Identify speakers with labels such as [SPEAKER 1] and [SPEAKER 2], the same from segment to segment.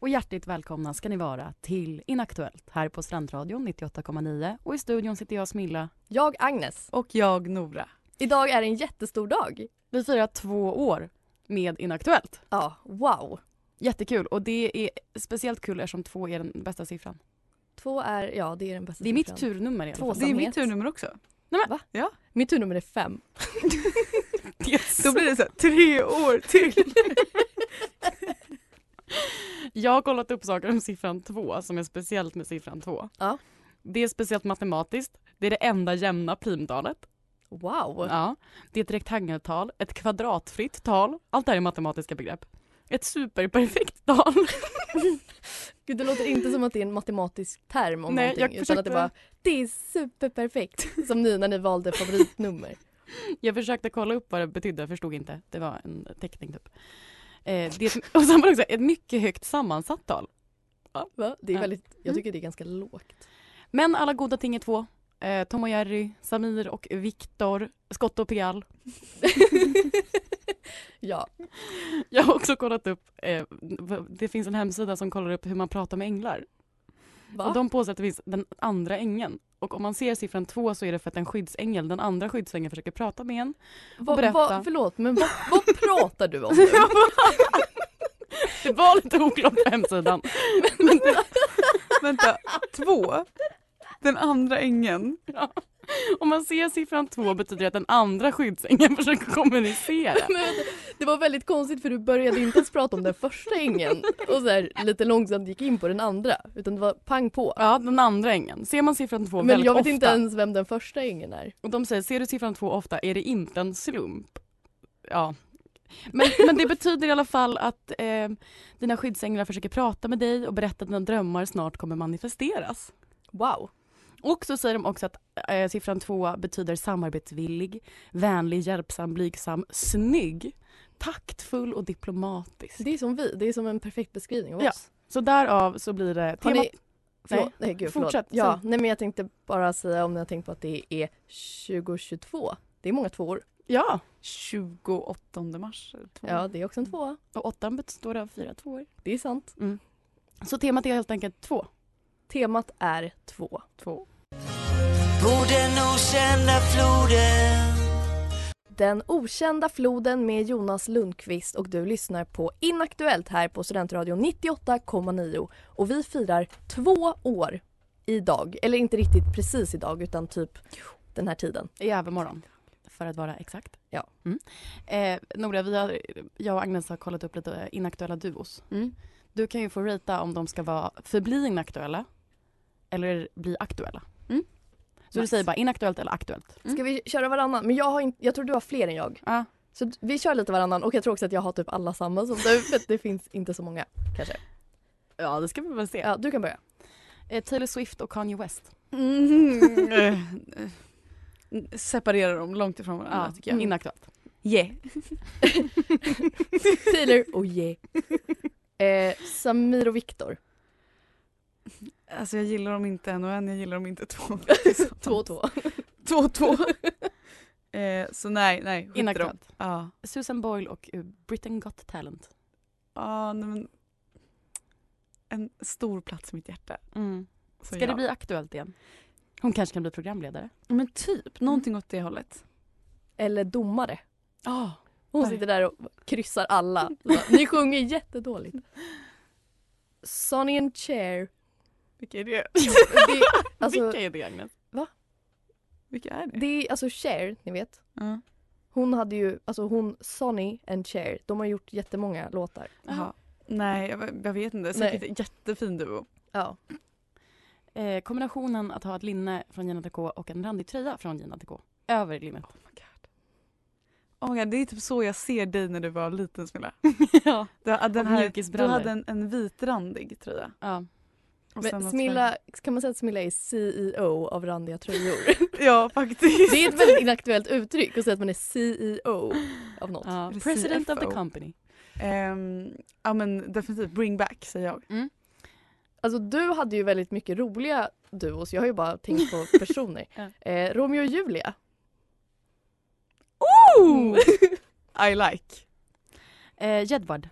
[SPEAKER 1] Och hjärtligt välkomna ska ni vara till Inaktuellt här på Strandradion 98,9 och i studion sitter jag Smilla.
[SPEAKER 2] Jag, Agnes.
[SPEAKER 1] Och jag Nora.
[SPEAKER 2] Idag är en jättestor dag.
[SPEAKER 1] Vi firar två år med Inaktuellt.
[SPEAKER 2] Ja, wow.
[SPEAKER 1] Jättekul och det är speciellt kul eftersom två är den bästa siffran.
[SPEAKER 2] Två är, ja det är den bästa
[SPEAKER 1] Det är mitt
[SPEAKER 2] siffran.
[SPEAKER 1] turnummer i alla fall.
[SPEAKER 2] Tvåsamhet.
[SPEAKER 3] Det är mitt turnummer också.
[SPEAKER 2] Mitt turnummer är fem.
[SPEAKER 1] Yes.
[SPEAKER 3] Då blir det så här, tre år till.
[SPEAKER 1] Jag har kollat upp saker om siffran två som är speciellt med siffran två.
[SPEAKER 2] Ja.
[SPEAKER 1] Det är speciellt matematiskt. Det är det enda jämna primtalet.
[SPEAKER 2] Wow.
[SPEAKER 1] Ja, det är ett rektangeltal, ett kvadratfritt tal, allt det här är matematiska begrepp. Ett superperfekt tal.
[SPEAKER 2] Gud, det låter inte som att det är en matematisk term om
[SPEAKER 1] Nej,
[SPEAKER 2] någonting.
[SPEAKER 1] jag
[SPEAKER 2] Utan att
[SPEAKER 1] försökte-
[SPEAKER 2] det bara, det är superperfekt. Som ni när ni valde favoritnummer.
[SPEAKER 1] Jag försökte kolla upp vad det betydde, förstod inte. Det var en teckning typ. Eh, det är ett, och sen var det också ett mycket högt sammansatt tal.
[SPEAKER 2] Va? Det är
[SPEAKER 1] Ja.
[SPEAKER 2] väldigt, jag
[SPEAKER 1] Mm.
[SPEAKER 2] tycker det är ganska lågt.
[SPEAKER 1] Men alla goda ting är två. Eh, Tom och Jerry, Samir och Viktor, Scott och Pial.
[SPEAKER 2] ja.
[SPEAKER 1] Jag har också kollat upp, eh, v- det finns en hemsida som kollar upp hur man pratar med änglar.
[SPEAKER 2] Va?
[SPEAKER 1] Och de påstår att det finns den andra ängeln. Och om man ser siffran två så är det för att en skyddsängel, den andra skyddsängel försöker prata med en.
[SPEAKER 2] Va,
[SPEAKER 1] berätta.
[SPEAKER 2] va, förlåt, men vad- vad pratar du om nu?
[SPEAKER 1] Det var lite oklart på hemsidan.
[SPEAKER 3] Vänta, två. Den andra ängen.
[SPEAKER 1] Om man ser siffran två betyder det att den andra skyddsängeln försöker kommunicera.
[SPEAKER 2] Men vänta, det var väldigt konstigt för du började inte ens prata om den första ängen och så här, lite långsamt gick in på den andra. Utan det var pang på.
[SPEAKER 1] Ja, den andra ängeln. Ser man siffran två
[SPEAKER 2] Men
[SPEAKER 1] väldigt
[SPEAKER 2] jag vet
[SPEAKER 1] ofta,
[SPEAKER 2] inte ens vem den första ängen är.
[SPEAKER 1] och de säger ser du siffran två ofta är det inte en slump. Ja. Men, men det betyder i alla fall att eh, dina skyddsänglar försöker prata med dig och berätta att dina drömmar snart kommer manifesteras.
[SPEAKER 2] Wow.
[SPEAKER 1] Och så säger de också att eh, siffran två betyder samarbetsvillig, vänlig, hjälpsam, blygsam, snygg, taktfull och diplomatisk.
[SPEAKER 2] Det är som vi, det är som en perfekt beskrivning av
[SPEAKER 1] Ja,
[SPEAKER 2] oss.
[SPEAKER 1] Så därav så blir det
[SPEAKER 2] Har
[SPEAKER 1] temat
[SPEAKER 2] ni... Förlåt, nej, gud, förlåt.
[SPEAKER 1] fortsätt.
[SPEAKER 2] Ja, nej, men jag tänkte bara säga om ni har tänkt på att det är 2022. Det är många tvåor.
[SPEAKER 1] Ja,
[SPEAKER 3] 28 mars. Två.
[SPEAKER 2] Ja, det är också en tvåa.
[SPEAKER 1] och åttan består av fyra tvåor.
[SPEAKER 2] Det är sant.
[SPEAKER 1] Så temat är helt enkelt två.
[SPEAKER 2] Temat är två.
[SPEAKER 1] två.
[SPEAKER 4] På den okända floden
[SPEAKER 2] Den okända floden med Jonas Lundqvist och du lyssnar på Inaktuellt här på Studentradion 98,9 och vi firar två år idag. Eller inte riktigt precis idag utan typ den här tiden.
[SPEAKER 1] I övermorgon. För att vara exakt.
[SPEAKER 2] Ja.
[SPEAKER 1] Mm. Eh, Nora, vi har, jag och Agnes har kollat upp lite eh, inaktuella duos.
[SPEAKER 3] Mm.
[SPEAKER 1] Du kan ju få rita om de ska vara förbli inaktuella eller bli aktuella.
[SPEAKER 3] Mm.
[SPEAKER 1] Så du säger bara inaktuellt eller aktuellt.
[SPEAKER 2] Ska vi köra varannan? Men jag, har inte, jag tror du har fler än jag.
[SPEAKER 1] Ja.
[SPEAKER 2] Så d- vi kör lite varannan och jag tror också att jag har typ alla samma som du för att det finns inte så många kanske.
[SPEAKER 1] ja, det ska vi väl se.
[SPEAKER 2] Ja, du kan börja.
[SPEAKER 1] Eh, Taylor Swift och Kanye West.
[SPEAKER 3] Mm. Eh, eh, Separera dem långt ifrån varandra
[SPEAKER 1] Ja,
[SPEAKER 3] tycker jag.
[SPEAKER 1] Inaktuellt.
[SPEAKER 3] Yeah.
[SPEAKER 2] Taylor och yeah. Eh, Samir och Viktor.
[SPEAKER 3] Alltså jag gillar dem inte en och en, jag gillar dem inte två.
[SPEAKER 2] Två och två.
[SPEAKER 3] Två och två. eh, så nej, nej. skit i dem.
[SPEAKER 1] Inaktuellt.
[SPEAKER 3] Ja.
[SPEAKER 1] Susan Boyle och eh, Britain Got Talent.
[SPEAKER 3] Ja, nej, men. En stor plats i mitt hjärta. Så
[SPEAKER 1] Ska
[SPEAKER 3] ja.
[SPEAKER 1] det bli aktuellt igen? Hon kanske kan bli programledare.
[SPEAKER 3] Men typ, någonting åt det hållet.
[SPEAKER 2] Eller domare.
[SPEAKER 1] Oh.
[SPEAKER 2] Hon
[SPEAKER 3] Nej.
[SPEAKER 2] sitter där och kryssar alla. Ni sjunger jättedåligt. Sonny and Cher.
[SPEAKER 3] Vilka är det?
[SPEAKER 2] Det, alltså,
[SPEAKER 1] Vilka är det Agnes?
[SPEAKER 3] Vilka är det?
[SPEAKER 2] det är alltså Cher, ni vet.
[SPEAKER 3] Ja.
[SPEAKER 2] Hon hade ju, alltså hon, Sonny and Cher, de har gjort jättemånga låtar.
[SPEAKER 3] Jaha. Nej, jag, jag vet inte. Säkert
[SPEAKER 2] Nej.
[SPEAKER 3] en jättefin duo.
[SPEAKER 2] Ja.
[SPEAKER 1] Eh, kombinationen att ha ett linne från Gina DK och en randig tröja från Gina DK. Över linnet.
[SPEAKER 3] Oh my god. Oh my god, det är typ så jag ser dig när du var liten Smilla.
[SPEAKER 1] ja.
[SPEAKER 3] Du, att den
[SPEAKER 1] Och
[SPEAKER 3] här, du
[SPEAKER 1] mjukisbrallor.
[SPEAKER 3] hade en, en vitrandig tröja.
[SPEAKER 1] ja.
[SPEAKER 3] Och sen
[SPEAKER 2] Men
[SPEAKER 3] att-
[SPEAKER 2] Smilla, kan man säga att Smilla är CEO av randiga tröjor?
[SPEAKER 3] Ja faktiskt.
[SPEAKER 2] Det är ett väldigt inaktuellt uttryck att säga att man är CEO av något.
[SPEAKER 1] Ja.
[SPEAKER 3] Eller
[SPEAKER 1] President of the
[SPEAKER 3] CFO.
[SPEAKER 1] company.
[SPEAKER 3] Ehm, ja men definitivt bring back säger jag.
[SPEAKER 2] Alltså du hade ju väldigt mycket roliga duos, jag har ju bara tänkt på personer. eh, Romeo och Julia.
[SPEAKER 3] Oh! I like.
[SPEAKER 1] Eh, Jedward.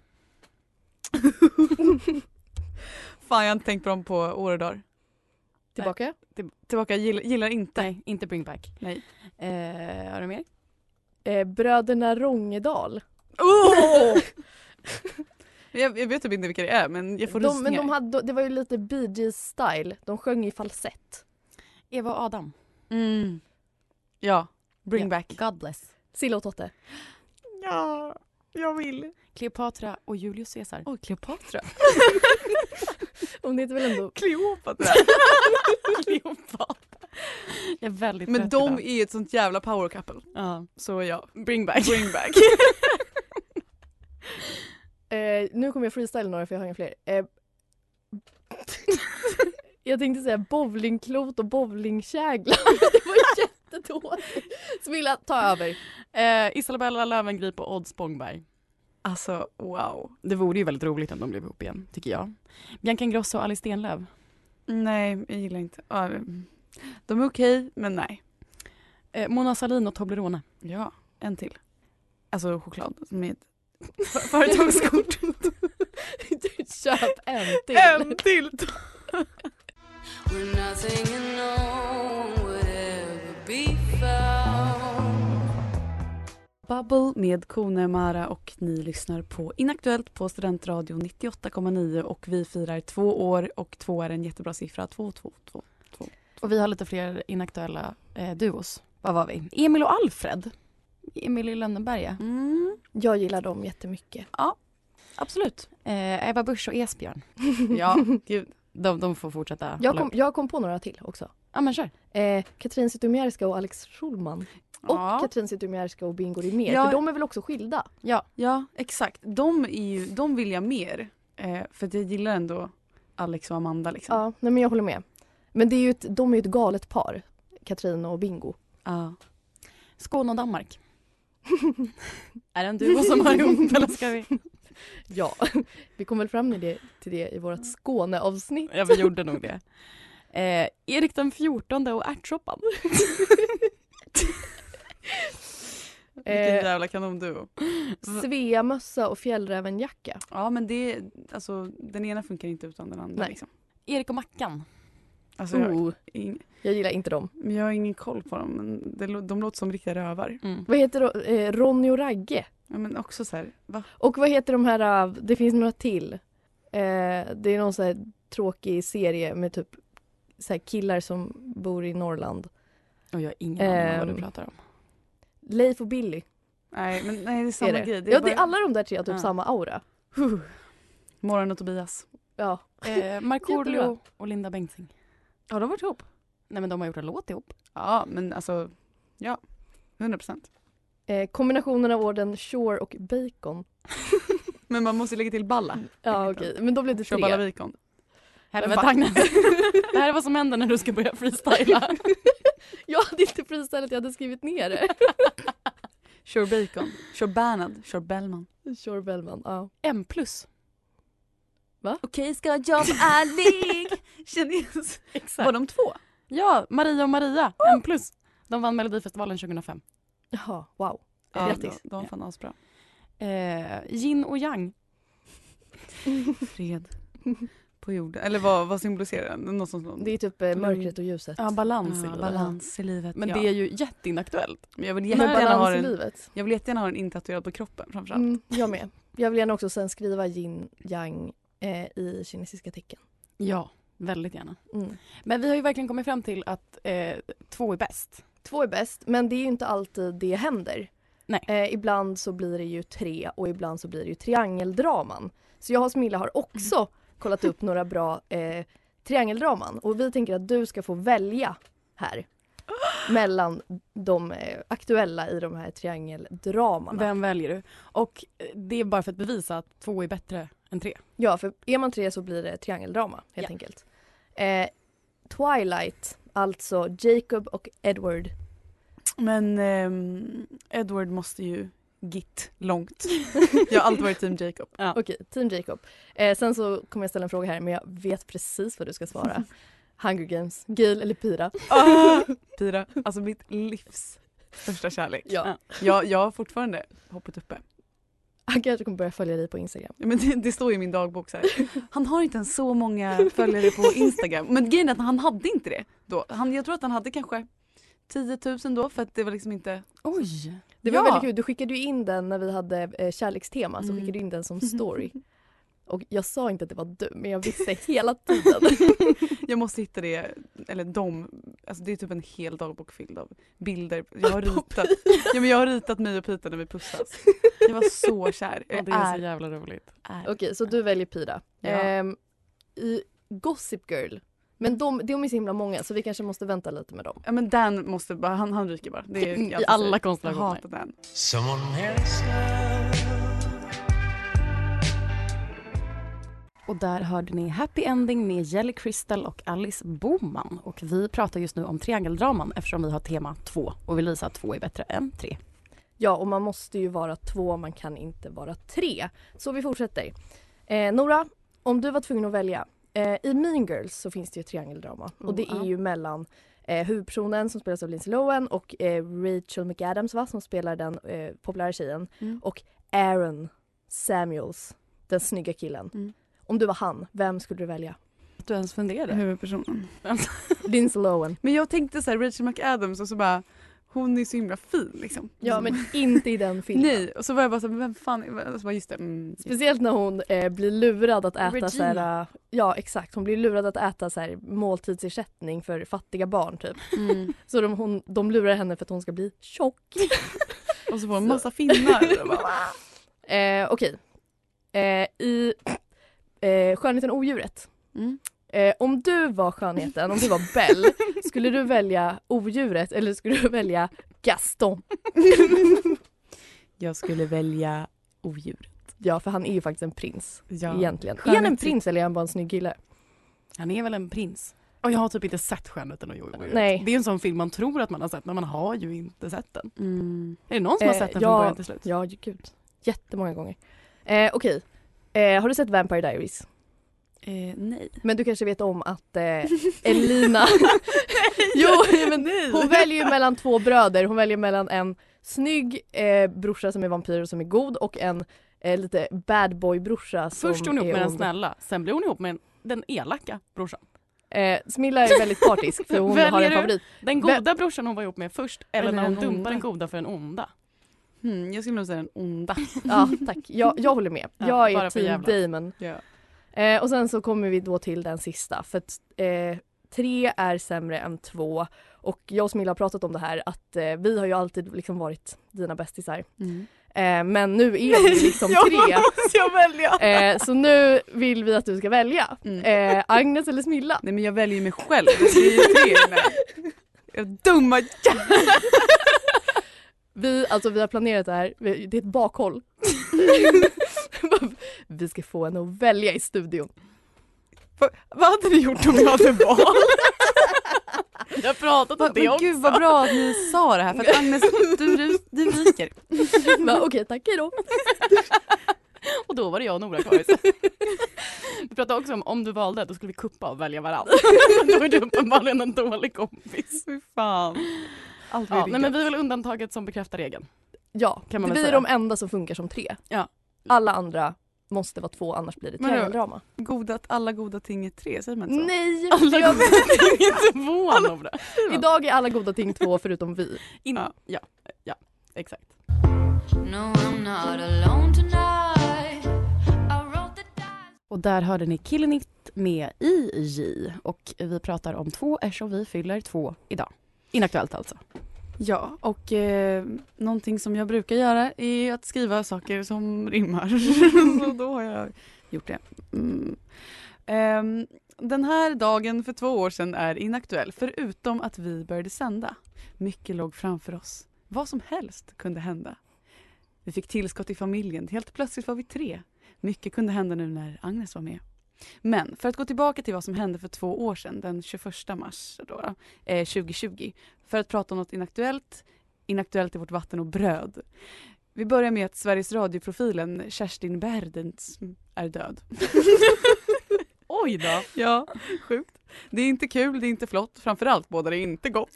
[SPEAKER 3] Fan jag har inte tänkt på dem på år och dagar.
[SPEAKER 2] Tillbaka.
[SPEAKER 3] Tillbaka, gillar, gillar inte.
[SPEAKER 1] Nej, inte bring back.
[SPEAKER 3] Nej.
[SPEAKER 1] Eh, har du mer?
[SPEAKER 2] Eh, Bröderna Rångedal.
[SPEAKER 3] Oh! jag, jag vet typ inte vilka det är men jag får
[SPEAKER 2] De, men
[SPEAKER 3] rysningar.
[SPEAKER 2] de hade, det var ju lite Bee Gees style, de sjöng i falsett.
[SPEAKER 1] Eva och Adam.
[SPEAKER 3] mm. Ja, bring
[SPEAKER 1] Ja.
[SPEAKER 3] back.
[SPEAKER 1] God bless.
[SPEAKER 2] Silla och Totte.
[SPEAKER 3] Ja, jag vill.
[SPEAKER 1] Cleopatra och Julius Caesar.
[SPEAKER 3] Åh, Kleopatra.
[SPEAKER 2] Och det är väl ändå...
[SPEAKER 3] Kleopatra.
[SPEAKER 1] Cleopatra. Jag är väldigt
[SPEAKER 3] Men
[SPEAKER 1] trött
[SPEAKER 3] de
[SPEAKER 1] idag.
[SPEAKER 3] är ett sånt jävla power couple.
[SPEAKER 1] Ja.
[SPEAKER 3] Så ja,
[SPEAKER 1] Bring back.
[SPEAKER 3] bring back.
[SPEAKER 2] Eh, nu kommer jag freestyla några för jag har inga fler. Eh, jag tänkte säga bowlingklot och bowlingkägla. det var jättedåligt. Smilla, ta över.
[SPEAKER 1] Eh, Isabella Löwengrip och Odd Spångberg.
[SPEAKER 3] alltså wow.
[SPEAKER 1] Det vore ju väldigt roligt om de blev ihop igen, tycker jag. Bianca Ingrosso och Alice Stenlöf.
[SPEAKER 3] Nej, jag gillar inte. Ja, det- De är okej, men nej.
[SPEAKER 1] Eh, Mona Sahlin och Toblerone.
[SPEAKER 3] Ja, en till. Alltså choklad som är ett f- företagskort.
[SPEAKER 2] Köp en till.
[SPEAKER 3] en till!
[SPEAKER 5] Where nothing unknown would ever be found.
[SPEAKER 3] Bubble med Kone Mara och ni lyssnar på Inaktuellt på Studentradio 98,9 och vi firar två år och två är en jättebra siffra. Två, två, två.
[SPEAKER 1] Och vi har lite fler inaktuella eh, duos. Vad var vi? Mm. Emil och Alfred. Emil i Lönneberga.
[SPEAKER 2] Jag gillar dem jättemycket.
[SPEAKER 1] Absolut. Eh, Eva Busch och Esbjörn.
[SPEAKER 3] Ja, gud.
[SPEAKER 1] De, de får fortsätta.
[SPEAKER 2] Jag
[SPEAKER 1] hålla
[SPEAKER 2] kom,
[SPEAKER 1] upp.
[SPEAKER 2] jag kom på några till också.
[SPEAKER 1] Ja men kör.
[SPEAKER 2] Eh, Katrin Zytomierska och Alex Schulman. Och
[SPEAKER 3] Ja.
[SPEAKER 2] Katrin Zytomierska och Bingo Rimér.
[SPEAKER 3] Ja.
[SPEAKER 2] För de är väl också skilda?
[SPEAKER 3] Ja, exakt. De, är ju, de vill jag mer. Eh, för att jag gillar ändå Alex och Amanda. Liksom.
[SPEAKER 2] Ja, nej men jag håller med. Men det är ju ett, de är ju ett galet par. Katrin och Bingo.
[SPEAKER 3] Ja.
[SPEAKER 1] Skåne och Danmark. är det en duo som har ihop eller ska vi?
[SPEAKER 2] Ja, vi kom väl fram till det, till det i vårt Skåneavsnitt.
[SPEAKER 1] Ja vi gjorde nog det. Eh, Erik den fjortonde och ärtsoppan.
[SPEAKER 3] Vilken
[SPEAKER 2] Eh,
[SPEAKER 3] jävla kanonduo.
[SPEAKER 2] Sveamössa Eh, och fjällrävenjacka.
[SPEAKER 3] Ja men det, alltså den ena funkar inte utan den andra.
[SPEAKER 2] Nej.
[SPEAKER 3] Liksom.
[SPEAKER 1] Erik och Mackan.
[SPEAKER 3] Alltså, jag,
[SPEAKER 2] Oh,
[SPEAKER 3] ing,
[SPEAKER 2] jag gillar inte dem.
[SPEAKER 3] men jag har ingen koll på dem men det, lå- de låter som riktiga rövar.
[SPEAKER 1] Mm.
[SPEAKER 2] Vad heter de? Eh, Ronny och Ragge?
[SPEAKER 3] Ja, men också så här, va?
[SPEAKER 2] Och vad heter de här, eh, det finns några till. Eh, det är någon så här tråkig serie med typ så här killar som bor i Norrland.
[SPEAKER 1] Och jag har ingen aning om vad
[SPEAKER 2] Ehm.
[SPEAKER 1] du pratar om.
[SPEAKER 2] Leif och Billy
[SPEAKER 3] Nej men nej, det är samma
[SPEAKER 2] är det.
[SPEAKER 3] grej.
[SPEAKER 2] ja,
[SPEAKER 3] bara-
[SPEAKER 2] det är alla de där tre har typ
[SPEAKER 3] Ja.
[SPEAKER 2] samma aura.
[SPEAKER 3] Huh. Morran och Tobias.
[SPEAKER 2] Ja.
[SPEAKER 1] Eh, Markoolio
[SPEAKER 2] Jättebra.
[SPEAKER 1] och Linda Bengtzing.
[SPEAKER 3] Har de varit ihop?
[SPEAKER 1] Nej men de har gjort en låt ihop.
[SPEAKER 3] Ja men alltså, ja. 100 procent.
[SPEAKER 2] Eh, kombinationen av orden Shore och Bacon.
[SPEAKER 3] Men man måste lägga till Balla.
[SPEAKER 2] Ja okej, men då blev det
[SPEAKER 3] Kör Balla
[SPEAKER 2] Mm, tre.
[SPEAKER 3] Vikon.
[SPEAKER 1] Helvete
[SPEAKER 3] Fuck.
[SPEAKER 1] Agnes. Det här är vad som händer när du ska börja freestyla.
[SPEAKER 2] Jag hade inte freestylat, jag hade skrivit ner det.
[SPEAKER 3] Kör Bacon. Kör Bernhard. Kör Bellman.
[SPEAKER 2] Shore Bellman, ja.
[SPEAKER 1] M plus.
[SPEAKER 3] Okej, ska jag jobba ärlig? Känner jag-
[SPEAKER 1] Exakt.
[SPEAKER 3] Var de två?
[SPEAKER 1] Ja, Maria och Maria. M plus. De vann Melodifestivalen 2005.
[SPEAKER 2] Jaha, wow.
[SPEAKER 3] Ja,
[SPEAKER 1] Grattis.
[SPEAKER 3] De, de var fan asbra.
[SPEAKER 1] Eh, yin och yang.
[SPEAKER 3] Fred på jorden. Eller vad, vad symboliserar den? Något sånt.
[SPEAKER 2] Det är typ eh, mörkret och ljuset.
[SPEAKER 1] Ja, balans i
[SPEAKER 3] ja,
[SPEAKER 1] livet.
[SPEAKER 3] balans i livet.
[SPEAKER 1] Men
[SPEAKER 3] ja.
[SPEAKER 1] det är ju jätteinaktuellt.
[SPEAKER 3] Men jag, vill
[SPEAKER 2] Men
[SPEAKER 3] jättegärna ha
[SPEAKER 2] balans i
[SPEAKER 3] den,
[SPEAKER 2] livet.
[SPEAKER 3] jag vill jättegärna ha den intatuerad på kroppen framförallt.
[SPEAKER 2] Mm, jag med. Jag vill gärna också sen skriva yin yang eh, i kinesiska tecken.
[SPEAKER 1] Ja, väldigt gärna.
[SPEAKER 2] Mm.
[SPEAKER 1] Men vi har ju verkligen kommit fram till att eh, två är bäst.
[SPEAKER 2] Två är bäst, men det är ju inte alltid det händer.
[SPEAKER 1] Nej.
[SPEAKER 2] Eh, ibland så blir det ju tre och ibland så blir det ju triangeldraman. Så jag och Smilla har också kollat upp några bra eh, triangeldraman och vi tänker att du ska få välja här mellan de eh, aktuella i de här triangeldramana.
[SPEAKER 1] Vem väljer du? Och eh, det är bara för att bevisa att två är bättre än tre.
[SPEAKER 2] Ja, för är man tre så blir det triangeldrama helt
[SPEAKER 1] Ja.
[SPEAKER 2] enkelt. Eh, Twilight, alltså Jacob och Edward.
[SPEAKER 3] Men ehm, Edward måste ju git långt. jag har alltid varit team Jacob.
[SPEAKER 2] Okej, Team Jacob. Eh, sen så kommer jag ställa en fråga här men jag vet precis vad du ska svara. Hunger Games, Gail eller Pira?
[SPEAKER 3] Ah, Pira, alltså mitt livs största kärlek.
[SPEAKER 2] Ja.
[SPEAKER 3] Jag, jag har fortfarande hoppet uppe.
[SPEAKER 2] Han kanske kommer börja följa dig på Instagram.
[SPEAKER 3] Men det, det står ju i min dagbok så här. Han har inte ens så många följare på Instagram. Men grejen är att han hade inte det då. Han, jag tror att han hade kanske 10 000 då för att det var liksom inte...
[SPEAKER 1] Oj!
[SPEAKER 2] Det var
[SPEAKER 1] Ja.
[SPEAKER 2] väldigt kul, du skickade ju in den när vi hade eh, kärlekstema så
[SPEAKER 3] Mm.
[SPEAKER 2] skickade du in den som story. Och jag sa inte att det var du men jag visste hela tiden.
[SPEAKER 3] Jag måste hitta det, eller de, alltså det är typ en hel dagbok fylld av bilder. Jag har ritat, ja, men jag har ritat mig och Pita när vi pussas. Jag var så kär.
[SPEAKER 1] Ja,
[SPEAKER 3] Jag
[SPEAKER 1] det är så
[SPEAKER 3] är,
[SPEAKER 1] jävla roligt.
[SPEAKER 3] är.
[SPEAKER 2] Okej, så du väljer Pira.
[SPEAKER 3] Ja.
[SPEAKER 2] Ehm, i Gossip Girl. Men de, de är så himla många så vi kanske måste vänta lite med dem.
[SPEAKER 3] Ja men Dan måste bara, han, han ryker bara. Det är, jag
[SPEAKER 1] I alla konstellationer.
[SPEAKER 3] hatar Dan.
[SPEAKER 4] Someone else love.
[SPEAKER 1] Och där hörde ni Happy Ending med Jelly Crystal och Alice Boman. Och vi pratar just nu om triangeldraman eftersom vi har tema två och vill visa att två är bättre än tre.
[SPEAKER 2] Ja, och man måste ju vara två, man kan inte vara tre. Så vi fortsätter. Eh, Nora, om du var tvungen att välja. Eh, I Mean Girls så finns det ju ett triangeldrama och det
[SPEAKER 3] Mm,
[SPEAKER 2] är ju mellan eh, huvudpersonen som spelas av Lindsay Lohan och eh, Rachel McAdams va, som spelar den eh, populära tjejen
[SPEAKER 3] Mm.
[SPEAKER 2] och Aaron Samuels, den snygga killen.
[SPEAKER 3] Mm.
[SPEAKER 2] Om du var han, vem skulle du välja?
[SPEAKER 1] Att du ens funderade.
[SPEAKER 3] Huvudpersonen.
[SPEAKER 2] Lindsay Lohan.
[SPEAKER 3] Men jag tänkte så här, Rachel McAdams och så bara, hon är så himla fin liksom.
[SPEAKER 2] Ja men inte i den filmen.
[SPEAKER 3] Nej, och så var jag bara så här, men vem fan, är- och så bara, just det. Mm.
[SPEAKER 2] Speciellt när hon eh, blir lurad att äta
[SPEAKER 1] Regina.
[SPEAKER 2] så här, eh, ja exakt, hon blir lurad att äta så här, måltidsersättning för fattiga barn typ.
[SPEAKER 3] Mm.
[SPEAKER 2] Så de, hon, de lurar henne för att hon ska bli tjock.
[SPEAKER 3] Och så får hon massa finnar. Och bara, va?
[SPEAKER 2] Eh, Okej. Eh, I eh, Skönheten och odjuret.
[SPEAKER 3] Mm.
[SPEAKER 2] Eh, om du var skönheten, om du var Belle, skulle du välja odjuret eller skulle du välja Gaston?
[SPEAKER 3] Jag skulle välja odjur.
[SPEAKER 2] Ja för han är ju faktiskt en prins
[SPEAKER 3] Ja.
[SPEAKER 2] egentligen. Är han en
[SPEAKER 3] Skönhets-
[SPEAKER 2] prins eller är han bara en snygg kille?
[SPEAKER 1] Han är väl en prins? Och jag har typ inte sett Skönheten och Jojo.
[SPEAKER 2] Nej.
[SPEAKER 1] Det är en sån film man tror att man har sett men man har ju inte sett den.
[SPEAKER 3] Mm.
[SPEAKER 1] Är det någon som har
[SPEAKER 2] Eh,
[SPEAKER 1] sett den
[SPEAKER 2] ja.
[SPEAKER 1] från början till slut?
[SPEAKER 2] Ja, ju- gud. Jättemånga gånger. Eh, Okej. Eh, har du sett Vampire Diaries?
[SPEAKER 3] Eh, nej.
[SPEAKER 2] Men du kanske vet om att eh, Elina... jo, men hon väljer ju mellan två bröder. Hon väljer mellan en snygg eh, brorsa som är vampyr och som är god och en eh, lite bad boy brorsa som
[SPEAKER 1] Först är hon ihop med
[SPEAKER 2] är
[SPEAKER 1] den
[SPEAKER 2] ond.
[SPEAKER 1] snälla, sen blir hon ihop med den, den elaka brorsan.
[SPEAKER 2] Eh, Smilla är väldigt partisk för hon
[SPEAKER 1] Väljer
[SPEAKER 2] har en
[SPEAKER 1] du?
[SPEAKER 2] favorit.
[SPEAKER 1] Den
[SPEAKER 2] Vem-
[SPEAKER 1] goda brorsan hon var ihop med först eller,
[SPEAKER 3] Eller
[SPEAKER 1] när hon
[SPEAKER 3] den
[SPEAKER 1] dumpar
[SPEAKER 3] onda.
[SPEAKER 1] den goda för den onda.
[SPEAKER 3] Hmm, jag skulle nog säga den onda.
[SPEAKER 2] Ja, tack. Jag, jag håller med.
[SPEAKER 1] Ja,
[SPEAKER 2] jag är
[SPEAKER 1] bara för
[SPEAKER 2] team
[SPEAKER 1] jävlar.
[SPEAKER 2] Damon.
[SPEAKER 3] Ja.
[SPEAKER 2] Eh, och sen så kommer vi då till den sista för att eh, tre är sämre än två och jag och Smilla har pratat om det här att eh, vi har ju alltid liksom varit dina bästisar. Eh, men nu är vi liksom tre
[SPEAKER 3] måste jag välja?
[SPEAKER 2] eh, så nu vill vi att du ska välja.
[SPEAKER 3] Mm.
[SPEAKER 2] Eh, Agnes eller Smilla?
[SPEAKER 3] Nej men jag väljer mig själv. Det är ju tre med. Jag dumma jävel.
[SPEAKER 2] Vi, alltså, vi har planerat det här, Vi- det är ett bakhåll. vi ska få henne att välja i studion.
[SPEAKER 3] Vad hade ni gjort om jag hade valt?
[SPEAKER 1] Jag har pratat om
[SPEAKER 3] Men
[SPEAKER 1] det också.
[SPEAKER 3] gud vad bra att ni sa det här för att Agnes, du, du, du viker.
[SPEAKER 2] Va, Okej, tack hejdå.
[SPEAKER 1] Och då var det jag och Nora kvar. Vi pratade också om om du valde, då skulle vi kuppa och välja varandra. då är du uppenbarligen en dålig kompis.
[SPEAKER 3] Fy fan. Allt
[SPEAKER 1] Ja, nej, men vi är väl undantaget som bekräftar regeln.
[SPEAKER 2] Ja,
[SPEAKER 1] Kan man väl
[SPEAKER 2] vi är
[SPEAKER 1] säga.
[SPEAKER 2] de enda som funkar som tre.
[SPEAKER 1] Ja.
[SPEAKER 2] Alla andra måste vara två annars blir det
[SPEAKER 3] Men då-
[SPEAKER 2] triangeldrama.
[SPEAKER 3] goda, att alla goda ting är tre, säger man inte så?
[SPEAKER 2] Nej!
[SPEAKER 1] Alltså. Alla
[SPEAKER 2] jag-
[SPEAKER 1] goda ting är två, Nora.
[SPEAKER 2] Idag är alla goda ting två förutom vi.
[SPEAKER 1] In- ja, ja, exakt.
[SPEAKER 5] No, I'm not alone tonight. I wrote the dice.
[SPEAKER 1] Och där hörde ni Killenit med IJ och vi pratar om två eftersom vi fyller två idag. Inaktuellt alltså.
[SPEAKER 3] Ja, och eh, någonting som jag brukar göra är att skriva saker som rimmar. Så då har jag gjort det. Mm. Ehm, den här dagen för två år sedan är inaktuell, förutom att vi började sända. Mycket låg framför oss. Vad som helst kunde hända. Vi fick tillskott i familjen. Helt plötsligt var vi tre. Mycket kunde hända nu när Agnes var med. Men för att gå tillbaka till vad som hände för två år sedan, den 21 mars då, då, eh, 2020 för att prata om något inaktuellt, inaktuellt i vårt vatten och bröd. Vi börjar med att Sveriges radioprofilen Kerstin Berdens är död.
[SPEAKER 1] Oj då.
[SPEAKER 3] Ja, sjukt. Det är inte kul, det är inte flott, framförallt båda det är inte gott.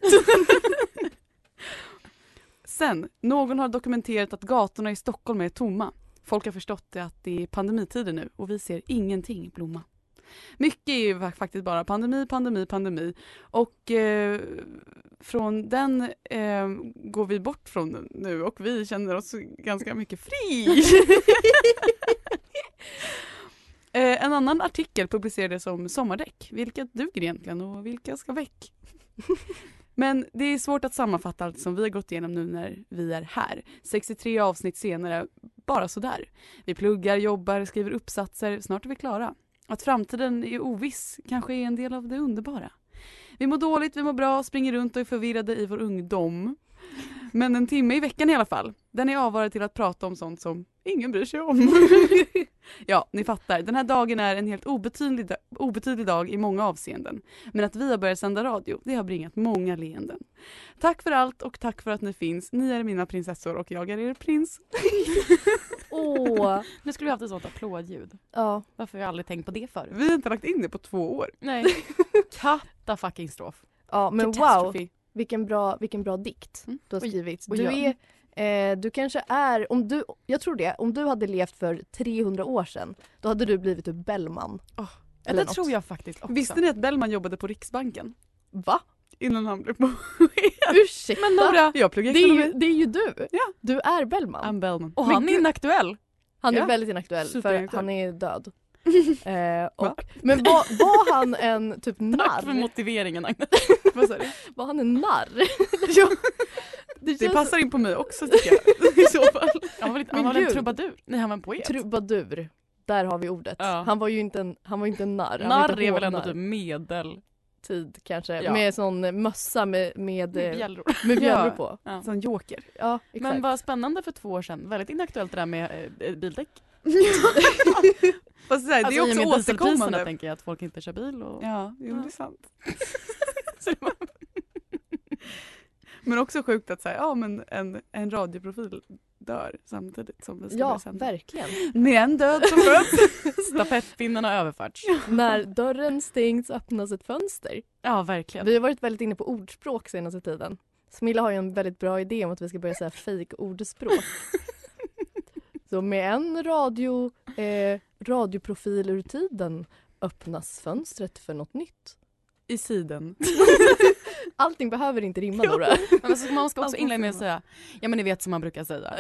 [SPEAKER 3] Sen, någon har dokumenterat att gatorna i Stockholm är tomma. Folk har förstått det att det är pandemitider nu och vi ser ingenting blomma. Mycket är ju fa- faktiskt bara pandemi, pandemi, pandemi. Och eh, från den eh, går vi bort från nu och vi känner oss ganska mycket fri. Eh, en annan artikel publicerades om sommardäck. Vilka duger egentligen och vilka ska väck? Men det är svårt att sammanfatta allt som vi har gått igenom nu när vi är här. 63 avsnitt senare, bara sådär. Vi pluggar, jobbar, skriver uppsatser, snart är vi klara. Att framtiden är oviss kanske är en del av det underbara. Vi mår dåligt, vi mår bra, springer runt och är förvirrade i vår ungdom. Men en timme i veckan i alla fall, den är avvarad till att prata om sånt som ingen bryr sig om. Ja, ni fattar. Den här dagen är en helt obetydlig, da- obetydlig dag i många avseenden. Men att vi har börjat sända radio, det har bringat många leenden. Tack för allt och tack för att ni finns. Ni är mina prinsessor och jag är er prins.
[SPEAKER 2] Åh.
[SPEAKER 1] Nu skulle vi haft ett sånt applådljud.
[SPEAKER 2] Ja.
[SPEAKER 1] Varför har jag aldrig tänkt på det förut?
[SPEAKER 3] Vi har inte lagt in det på två år.
[SPEAKER 1] Nej. Katta fucking strof.
[SPEAKER 2] ja, men wow.
[SPEAKER 3] Catastrophe.
[SPEAKER 2] Vilken bra, vilken bra dikt
[SPEAKER 3] Mm.
[SPEAKER 2] du har skrivit.
[SPEAKER 1] och
[SPEAKER 2] du,
[SPEAKER 1] jag-
[SPEAKER 2] är, eh, du kanske är, om du, jag tror det, om du hade levt för 300 år sedan då hade du blivit typ Bellman.
[SPEAKER 1] Ja,
[SPEAKER 2] Eller
[SPEAKER 1] det
[SPEAKER 2] något.
[SPEAKER 1] tror jag faktiskt också.
[SPEAKER 3] Visste ni att Bellman jobbade på Riksbanken?
[SPEAKER 2] Va?
[SPEAKER 3] Innan han blev på...
[SPEAKER 2] Ursäkta?
[SPEAKER 3] Men Nora! Jag pluggar
[SPEAKER 2] det, är ju,
[SPEAKER 3] ekonomi.
[SPEAKER 2] det är ju du!
[SPEAKER 3] Ja.
[SPEAKER 2] Du är Bellman.
[SPEAKER 3] I'm Bellman.
[SPEAKER 1] Och han är inaktuell.
[SPEAKER 2] Han är
[SPEAKER 3] Ja.
[SPEAKER 2] väldigt inaktuell för
[SPEAKER 3] Superinaktuell.
[SPEAKER 2] han är död. eh,
[SPEAKER 3] Va?
[SPEAKER 2] och, men var, var han en typ
[SPEAKER 1] Tack för
[SPEAKER 2] narr?
[SPEAKER 1] motiveringen Agnes.
[SPEAKER 3] Vad sa du?
[SPEAKER 2] Var han en narr? ja. Det,
[SPEAKER 3] Det
[SPEAKER 2] känns
[SPEAKER 3] passar in på mig också tycker jag. I så fall.
[SPEAKER 1] Han var, lite,
[SPEAKER 2] Men
[SPEAKER 1] han var en
[SPEAKER 2] gud.
[SPEAKER 1] trubadur. Nej, han var en poet.
[SPEAKER 2] trubadur. Där har vi ordet.
[SPEAKER 1] Ja.
[SPEAKER 2] Han var ju inte en, han var ju inte en narr. Han var
[SPEAKER 1] Narr
[SPEAKER 2] inte
[SPEAKER 1] är väl ändå
[SPEAKER 2] hovnarr.
[SPEAKER 1] typ medel...
[SPEAKER 2] tid kanske.
[SPEAKER 1] Ja.
[SPEAKER 2] Med sån eh, mössa med, med, eh,
[SPEAKER 1] Bjällror.
[SPEAKER 2] med bjällror
[SPEAKER 3] Ja.
[SPEAKER 2] på.
[SPEAKER 1] Ja.
[SPEAKER 3] Som joker.
[SPEAKER 2] Ja, exakt.
[SPEAKER 1] Men vad spännande för två år sedan. Väldigt inaktuellt det där med eh, bildäck.
[SPEAKER 3] Fast så här, det
[SPEAKER 1] Alltså, i
[SPEAKER 3] är
[SPEAKER 1] och med
[SPEAKER 3] också
[SPEAKER 1] dieselpriserna
[SPEAKER 3] återkommande.
[SPEAKER 1] tänker jag att folk inte kör bil. Och...
[SPEAKER 3] Ja, jo,
[SPEAKER 1] Ja.
[SPEAKER 3] det är sant. men också sjukt att så här, ja, men en, en radioprofil dör samtidigt som vi ska börja
[SPEAKER 2] ja,
[SPEAKER 3] sända.
[SPEAKER 2] verkligen.
[SPEAKER 3] Med en död som föds.
[SPEAKER 1] Stafettpinnen har överförts.
[SPEAKER 2] När dörren stängs öppnas ett fönster.
[SPEAKER 1] Ja, verkligen.
[SPEAKER 2] Vi har varit väldigt inne på ordspråk senaste tiden. Smilla har ju en väldigt bra idé om att vi ska börja säga fejkordspråk. Så med en radio, eh, radioprofil ur tiden öppnas fönstret för något nytt.
[SPEAKER 3] I siden.
[SPEAKER 2] Allting behöver inte rimma Nora.
[SPEAKER 1] Men så man ska också inleda med att säga, ja men ni vet som man brukar säga.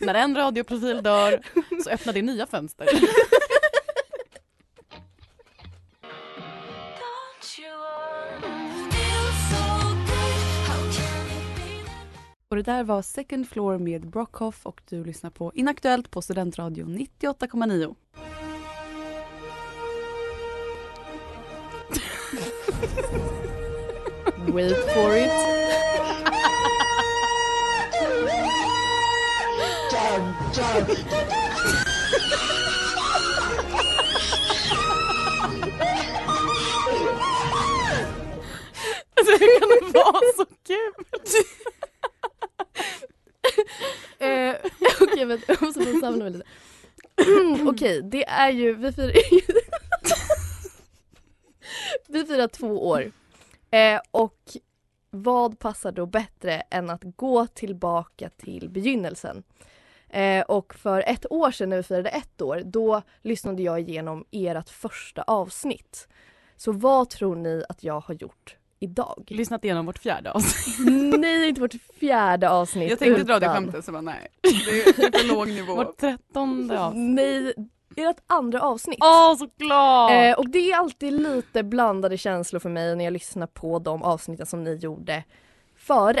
[SPEAKER 1] När en radioprofil dör så öppnar det nya fönster.
[SPEAKER 5] Don't you wanna feel so good? How can it be that
[SPEAKER 3] Och det där var Second Floor med Brockhoff och du lyssnar på Inaktuellt på Studentradion 98,9.
[SPEAKER 2] Wait for it.
[SPEAKER 1] Alltså hur kan det vara så kul?
[SPEAKER 2] Eh, Okej, vänta. Jag måste bara samla mig lite. Okej, det är ju... Vi firar, vi firar två år. Eh, och vad passar då bättre än att gå tillbaka till begynnelsen? Eh, och för ett år sedan när vi firade ett år, då lyssnade jag igenom ert första avsnitt. Så vad tror ni att jag har gjort idag?
[SPEAKER 1] Lyssnat igenom vårt fjärde avsnitt.
[SPEAKER 2] Nej, inte vårt fjärde avsnitt.
[SPEAKER 3] Jag tänkte dra det
[SPEAKER 2] utan-
[SPEAKER 3] skämtet så bara nej. Det är, det är för låg nivå.
[SPEAKER 1] Vårt trettonde avsnitt.
[SPEAKER 2] Alltså, Nej, ert andra avsnitt.
[SPEAKER 1] Åh, så glad!
[SPEAKER 2] Eh, och det är alltid lite blandade känslor för mig när jag lyssnar på de avsnitten som ni gjorde före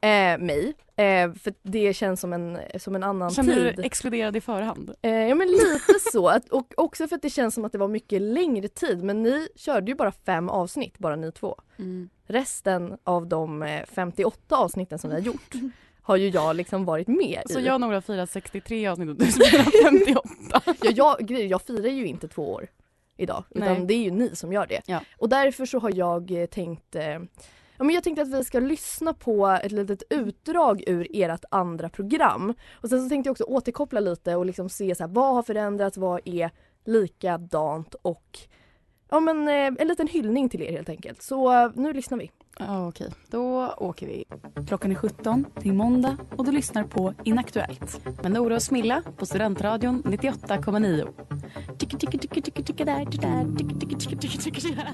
[SPEAKER 2] eh, mig. Eh, för det känns som en, som en annan
[SPEAKER 1] Känner du
[SPEAKER 2] tid.
[SPEAKER 1] dig exkluderad i förhand?
[SPEAKER 2] Eh, ja men lite så. Att, och också för att det känns som att det var mycket längre tid. Men ni körde ju bara fem avsnitt, bara ni två. Resten av de eh, 58 avsnitten som ni har gjort har ju jag liksom varit med
[SPEAKER 1] Så
[SPEAKER 2] i.
[SPEAKER 1] jag och Nora firar 63 avsnitt och du spelar 58.
[SPEAKER 2] Ja, jag, grejer, jag firar ju inte två år idag, utan
[SPEAKER 1] Nej.
[SPEAKER 2] det är ju ni som gör det.
[SPEAKER 1] Ja.
[SPEAKER 2] Och därför så har jag eh, tänkt eh, Ja, men jag tänkte att vi ska lyssna på ett litet utdrag ur ert andra program. Och sen så tänkte jag också återkoppla lite och liksom se så här, vad har förändrats, vad är likadant och ja, men, eh, en liten hyllning till er helt enkelt. Så eh, nu lyssnar vi.
[SPEAKER 1] Ja, okej. Då åker vi.
[SPEAKER 6] Klockan är 17, det är måndag och du lyssnar på Inaktuellt.
[SPEAKER 1] Med Nora och Smilla på Studentradion 98,9.
[SPEAKER 6] Tycker, tycker, tycker, tycker, tycker, där, tycker, där, tycker, tycker, tycker, tycker, tycker, där.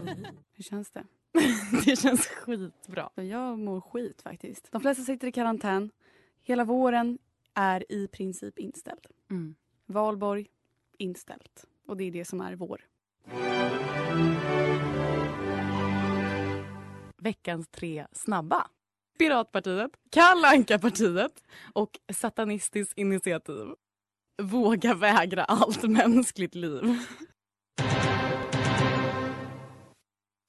[SPEAKER 3] Hur känns det?
[SPEAKER 1] Det känns skitbra.
[SPEAKER 3] Jag mår skit faktiskt. De flesta sitter i karantän. Hela våren är i princip inställd.
[SPEAKER 1] Mm.
[SPEAKER 3] Valborg, inställt. Och det är det som är vår.
[SPEAKER 1] Veckans tre snabba. Piratpartiet, Kalle Anka-partiet och Satanistiskt initiativ. Våga vägra allt mänskligt liv.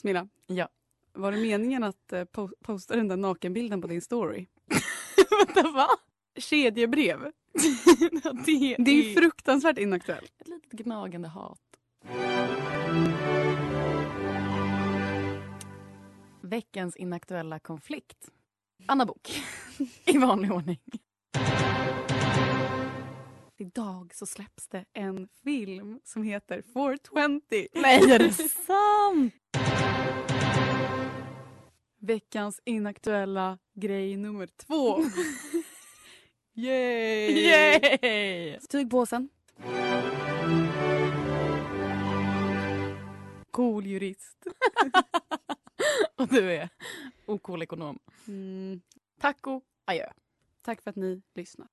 [SPEAKER 3] Smilla.
[SPEAKER 1] Ja.
[SPEAKER 3] Var det meningen att eh, po- posta den där nakenbilden på din story?
[SPEAKER 1] Vänta, va?
[SPEAKER 3] Kedjebrev.
[SPEAKER 1] Ja, det,
[SPEAKER 3] Det är ju fruktansvärt inaktuellt.
[SPEAKER 1] ett litet gnagande hat. Veckans inaktuella konflikt. Anna Bok. i vanlig ordning.
[SPEAKER 3] Idag så släpps det en film som heter 420.
[SPEAKER 1] Nej, är det sant?
[SPEAKER 3] Veckans inaktuella grej nummer två. Yay!
[SPEAKER 1] Yay!
[SPEAKER 3] Tygpåsen. Cool jurist.
[SPEAKER 1] Och du är okol ekonom.
[SPEAKER 3] Mm.
[SPEAKER 1] Taco adjö.
[SPEAKER 3] Tack för att ni lyssnar.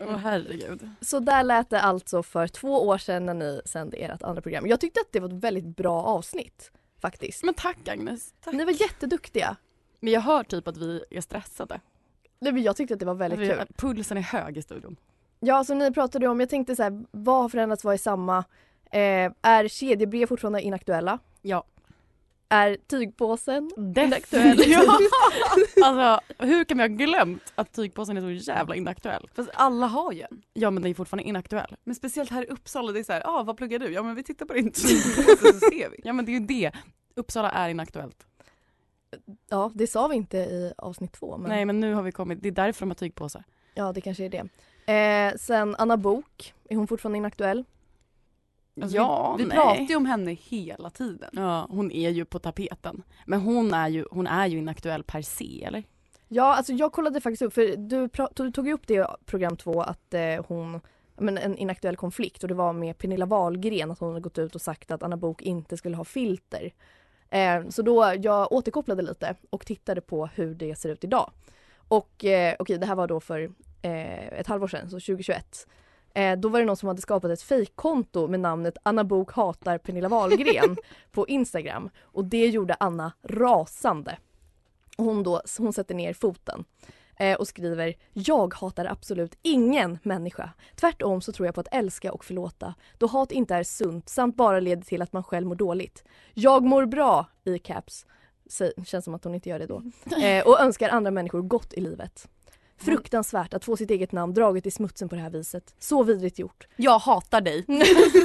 [SPEAKER 1] Åh herregud.
[SPEAKER 2] Så där lät det alltså för två år sedan när ni sände ert andra program. Jag tyckte att det var ett väldigt bra avsnitt faktiskt.
[SPEAKER 1] Men tack Agnes.
[SPEAKER 2] Ni var jätteduktiga.
[SPEAKER 1] Men jag hör typ att vi är stressade.
[SPEAKER 2] Nej, men jag tyckte att det var väldigt
[SPEAKER 1] Vi-
[SPEAKER 2] kul.
[SPEAKER 1] Pulsen är hög i studion.
[SPEAKER 2] Ja, som ni pratade om, jag tänkte så här, vad har förändrats, vad är samma? Eh, är kedjebrev fortfarande inaktuella?
[SPEAKER 1] Ja.
[SPEAKER 2] Är tygpåsen?
[SPEAKER 1] Inaktuell. ja. Alltså, hur kan vi ha glömt att tygpåsen är så jävla inaktuell?
[SPEAKER 3] Fast alla har ju en.
[SPEAKER 1] Ja men den är fortfarande inaktuell.
[SPEAKER 3] Men speciellt här i Uppsala, det är så här, ah, vad pluggar du? Ja men vi tittar på din tygpåse så ser vi.
[SPEAKER 1] Ja men det är ju det. Uppsala är inaktuellt.
[SPEAKER 2] Ja, det sa vi inte i avsnitt två, men
[SPEAKER 1] Nej men nu har vi kommit, det är därför de har tygpåsar.
[SPEAKER 2] ja, det kanske är det. Eh, sen Anna Bok, är hon fortfarande inaktuell?
[SPEAKER 3] Alltså,
[SPEAKER 1] ja,
[SPEAKER 3] vi vi
[SPEAKER 1] nej.
[SPEAKER 3] pratar ju om henne hela tiden.
[SPEAKER 1] Ja, hon är ju på tapeten. Men hon är ju, hon är ju inaktuell per se eller?
[SPEAKER 2] Ja, alltså jag kollade faktiskt upp, för du, pra- du tog ju upp det i program två att eh, hon, ja, men en inaktuell konflikt och det var med Pernilla Wahlgren att hon hade gått ut och sagt att Anna Bok inte skulle ha filter. Eh, så då, jag återkopplade lite och tittade på hur det ser ut idag. Och eh, okej, det här var då för eh, ett halvår sedan, så 2021. Eh, då var det någon som hade skapat ett fejkkonto med namnet Anna Bok hatar Pernilla Wahlgren på Instagram. Och det gjorde Anna rasande. Hon, då, hon sätter ner foten eh, och skriver “Jag hatar absolut ingen människa. Tvärtom så tror jag på att älska och förlåta, då hat inte är sunt samt bara leder till att man själv mår dåligt. Jag mår bra” i caps. Sä- Känns som att hon inte gör det då. Eh, och önskar andra människor gott i livet. Fruktansvärt att få sitt eget namn draget i smutsen på det här viset. Så vidrigt gjort.
[SPEAKER 1] Jag hatar dig.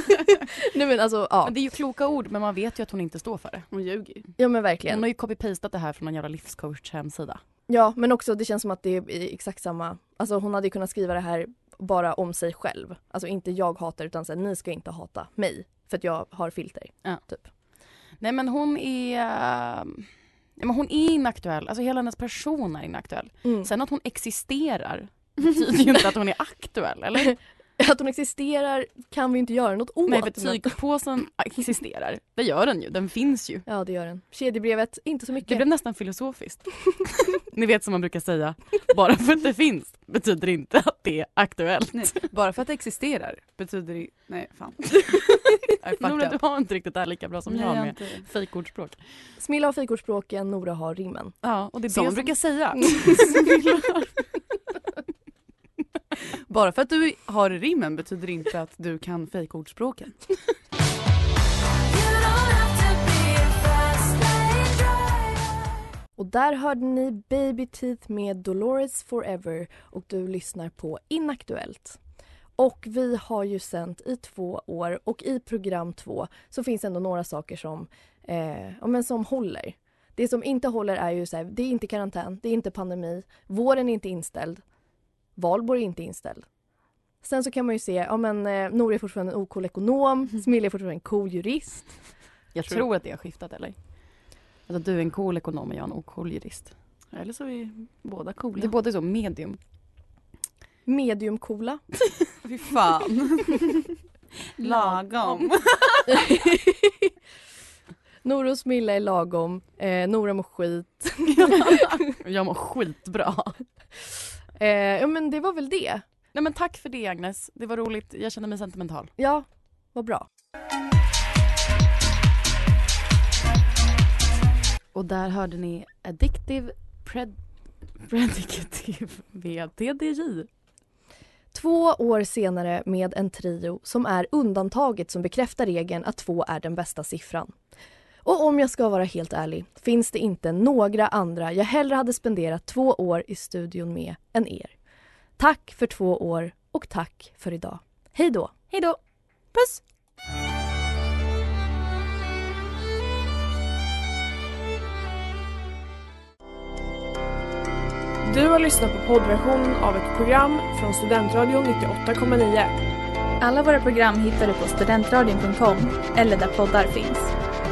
[SPEAKER 2] Nej men alltså ja,
[SPEAKER 1] Men det är ju kloka ord men man vet ju att hon inte står för det.
[SPEAKER 3] Hon ljuger ju.
[SPEAKER 2] ja men
[SPEAKER 1] Hon
[SPEAKER 2] verkligen.
[SPEAKER 1] har ju copy-pastat det här från någon jävla livscoach hemsida.
[SPEAKER 2] Ja men också det känns som att det är i exakt samma, alltså hon hade ju kunnat skriva det här bara om sig själv. Alltså inte jag hatar utan så här, ni ska inte hata mig för att jag har filter.
[SPEAKER 1] Nej men hon är, eh, Nej, Men hon är inaktuell, alltså hela hennes person är inaktuell.
[SPEAKER 2] Mm.
[SPEAKER 1] Sen att hon existerar betyder ju inte att hon är aktuell, eller?
[SPEAKER 2] Att hon existerar kan vi inte göra något åt.
[SPEAKER 1] Nej, för
[SPEAKER 2] men-
[SPEAKER 1] tygpåsen existerar. Det gör den ju, den finns ju.
[SPEAKER 2] Ja, det gör den. Kedjebrevet, inte så mycket.
[SPEAKER 1] Det blev nästan filosofiskt. Ni vet som man brukar säga, bara för att det finns betyder inte att det är aktuellt.
[SPEAKER 3] Nej, bara för att det existerar betyder det... Nej, fan. I
[SPEAKER 1] Nora,
[SPEAKER 3] fucked
[SPEAKER 1] du
[SPEAKER 3] up.
[SPEAKER 1] har inte riktigt det här lika bra som
[SPEAKER 3] Nej,
[SPEAKER 1] jag
[SPEAKER 3] har
[SPEAKER 1] med
[SPEAKER 3] inte.
[SPEAKER 1] fejkordspråk.
[SPEAKER 2] Smilla har fikordspråken, Nora har rimmen.
[SPEAKER 1] Ja, och det är
[SPEAKER 3] Som
[SPEAKER 1] det
[SPEAKER 3] man
[SPEAKER 1] som-
[SPEAKER 3] brukar säga. Bara för att du har rimmen betyder inte att du kan fejkordspråken.
[SPEAKER 2] Och där hörde ni Baby Teeth med Dolores Forever och du lyssnar på Inaktuellt. Och vi har ju sänt i två år och i program två så finns ändå några saker som, eh, ja, men som håller. Det som inte håller är ju så här, det är inte karantän, det är inte pandemi, våren är inte inställd, valborg är inte inställd. Sen så kan man ju se, ja men eh, Nora är fortfarande en ocool ekonom, Smilla är fortfarande en cool jurist.
[SPEAKER 1] Jag
[SPEAKER 3] Tror-
[SPEAKER 1] tror att det har skiftat, eller? Alltså, du är en cool ekonom och jag är en ocool jurist.
[SPEAKER 3] Eller så är vi båda coola.
[SPEAKER 1] Det är båda så medium.
[SPEAKER 2] Medium-coola.
[SPEAKER 3] Fy fan. Lagom.
[SPEAKER 2] Nora och Smilla är lagom, eh, Nora mår skit.
[SPEAKER 1] Jag mår skitbra.
[SPEAKER 2] Eh, ja men det var väl det.
[SPEAKER 1] Nej men tack för det Agnes, det var roligt. Jag känner mig sentimental.
[SPEAKER 2] Ja, vad bra.
[SPEAKER 1] Och där hörde ni Addictive Pred... Predicative med TDJ.
[SPEAKER 2] Två år senare med en trio som är undantaget som bekräftar regeln att två är den bästa siffran. Och om jag ska vara helt ärlig finns det inte några andra jag hellre hade spenderat två år i studion med än er. Tack för två år och tack för idag. Hej då!
[SPEAKER 1] Hej då!
[SPEAKER 2] Puss!
[SPEAKER 7] Du har lyssnat på poddversionen av ett program från Studentradion 98,9.
[SPEAKER 6] Alla våra program hittar du på studentradion.com eller där poddar finns.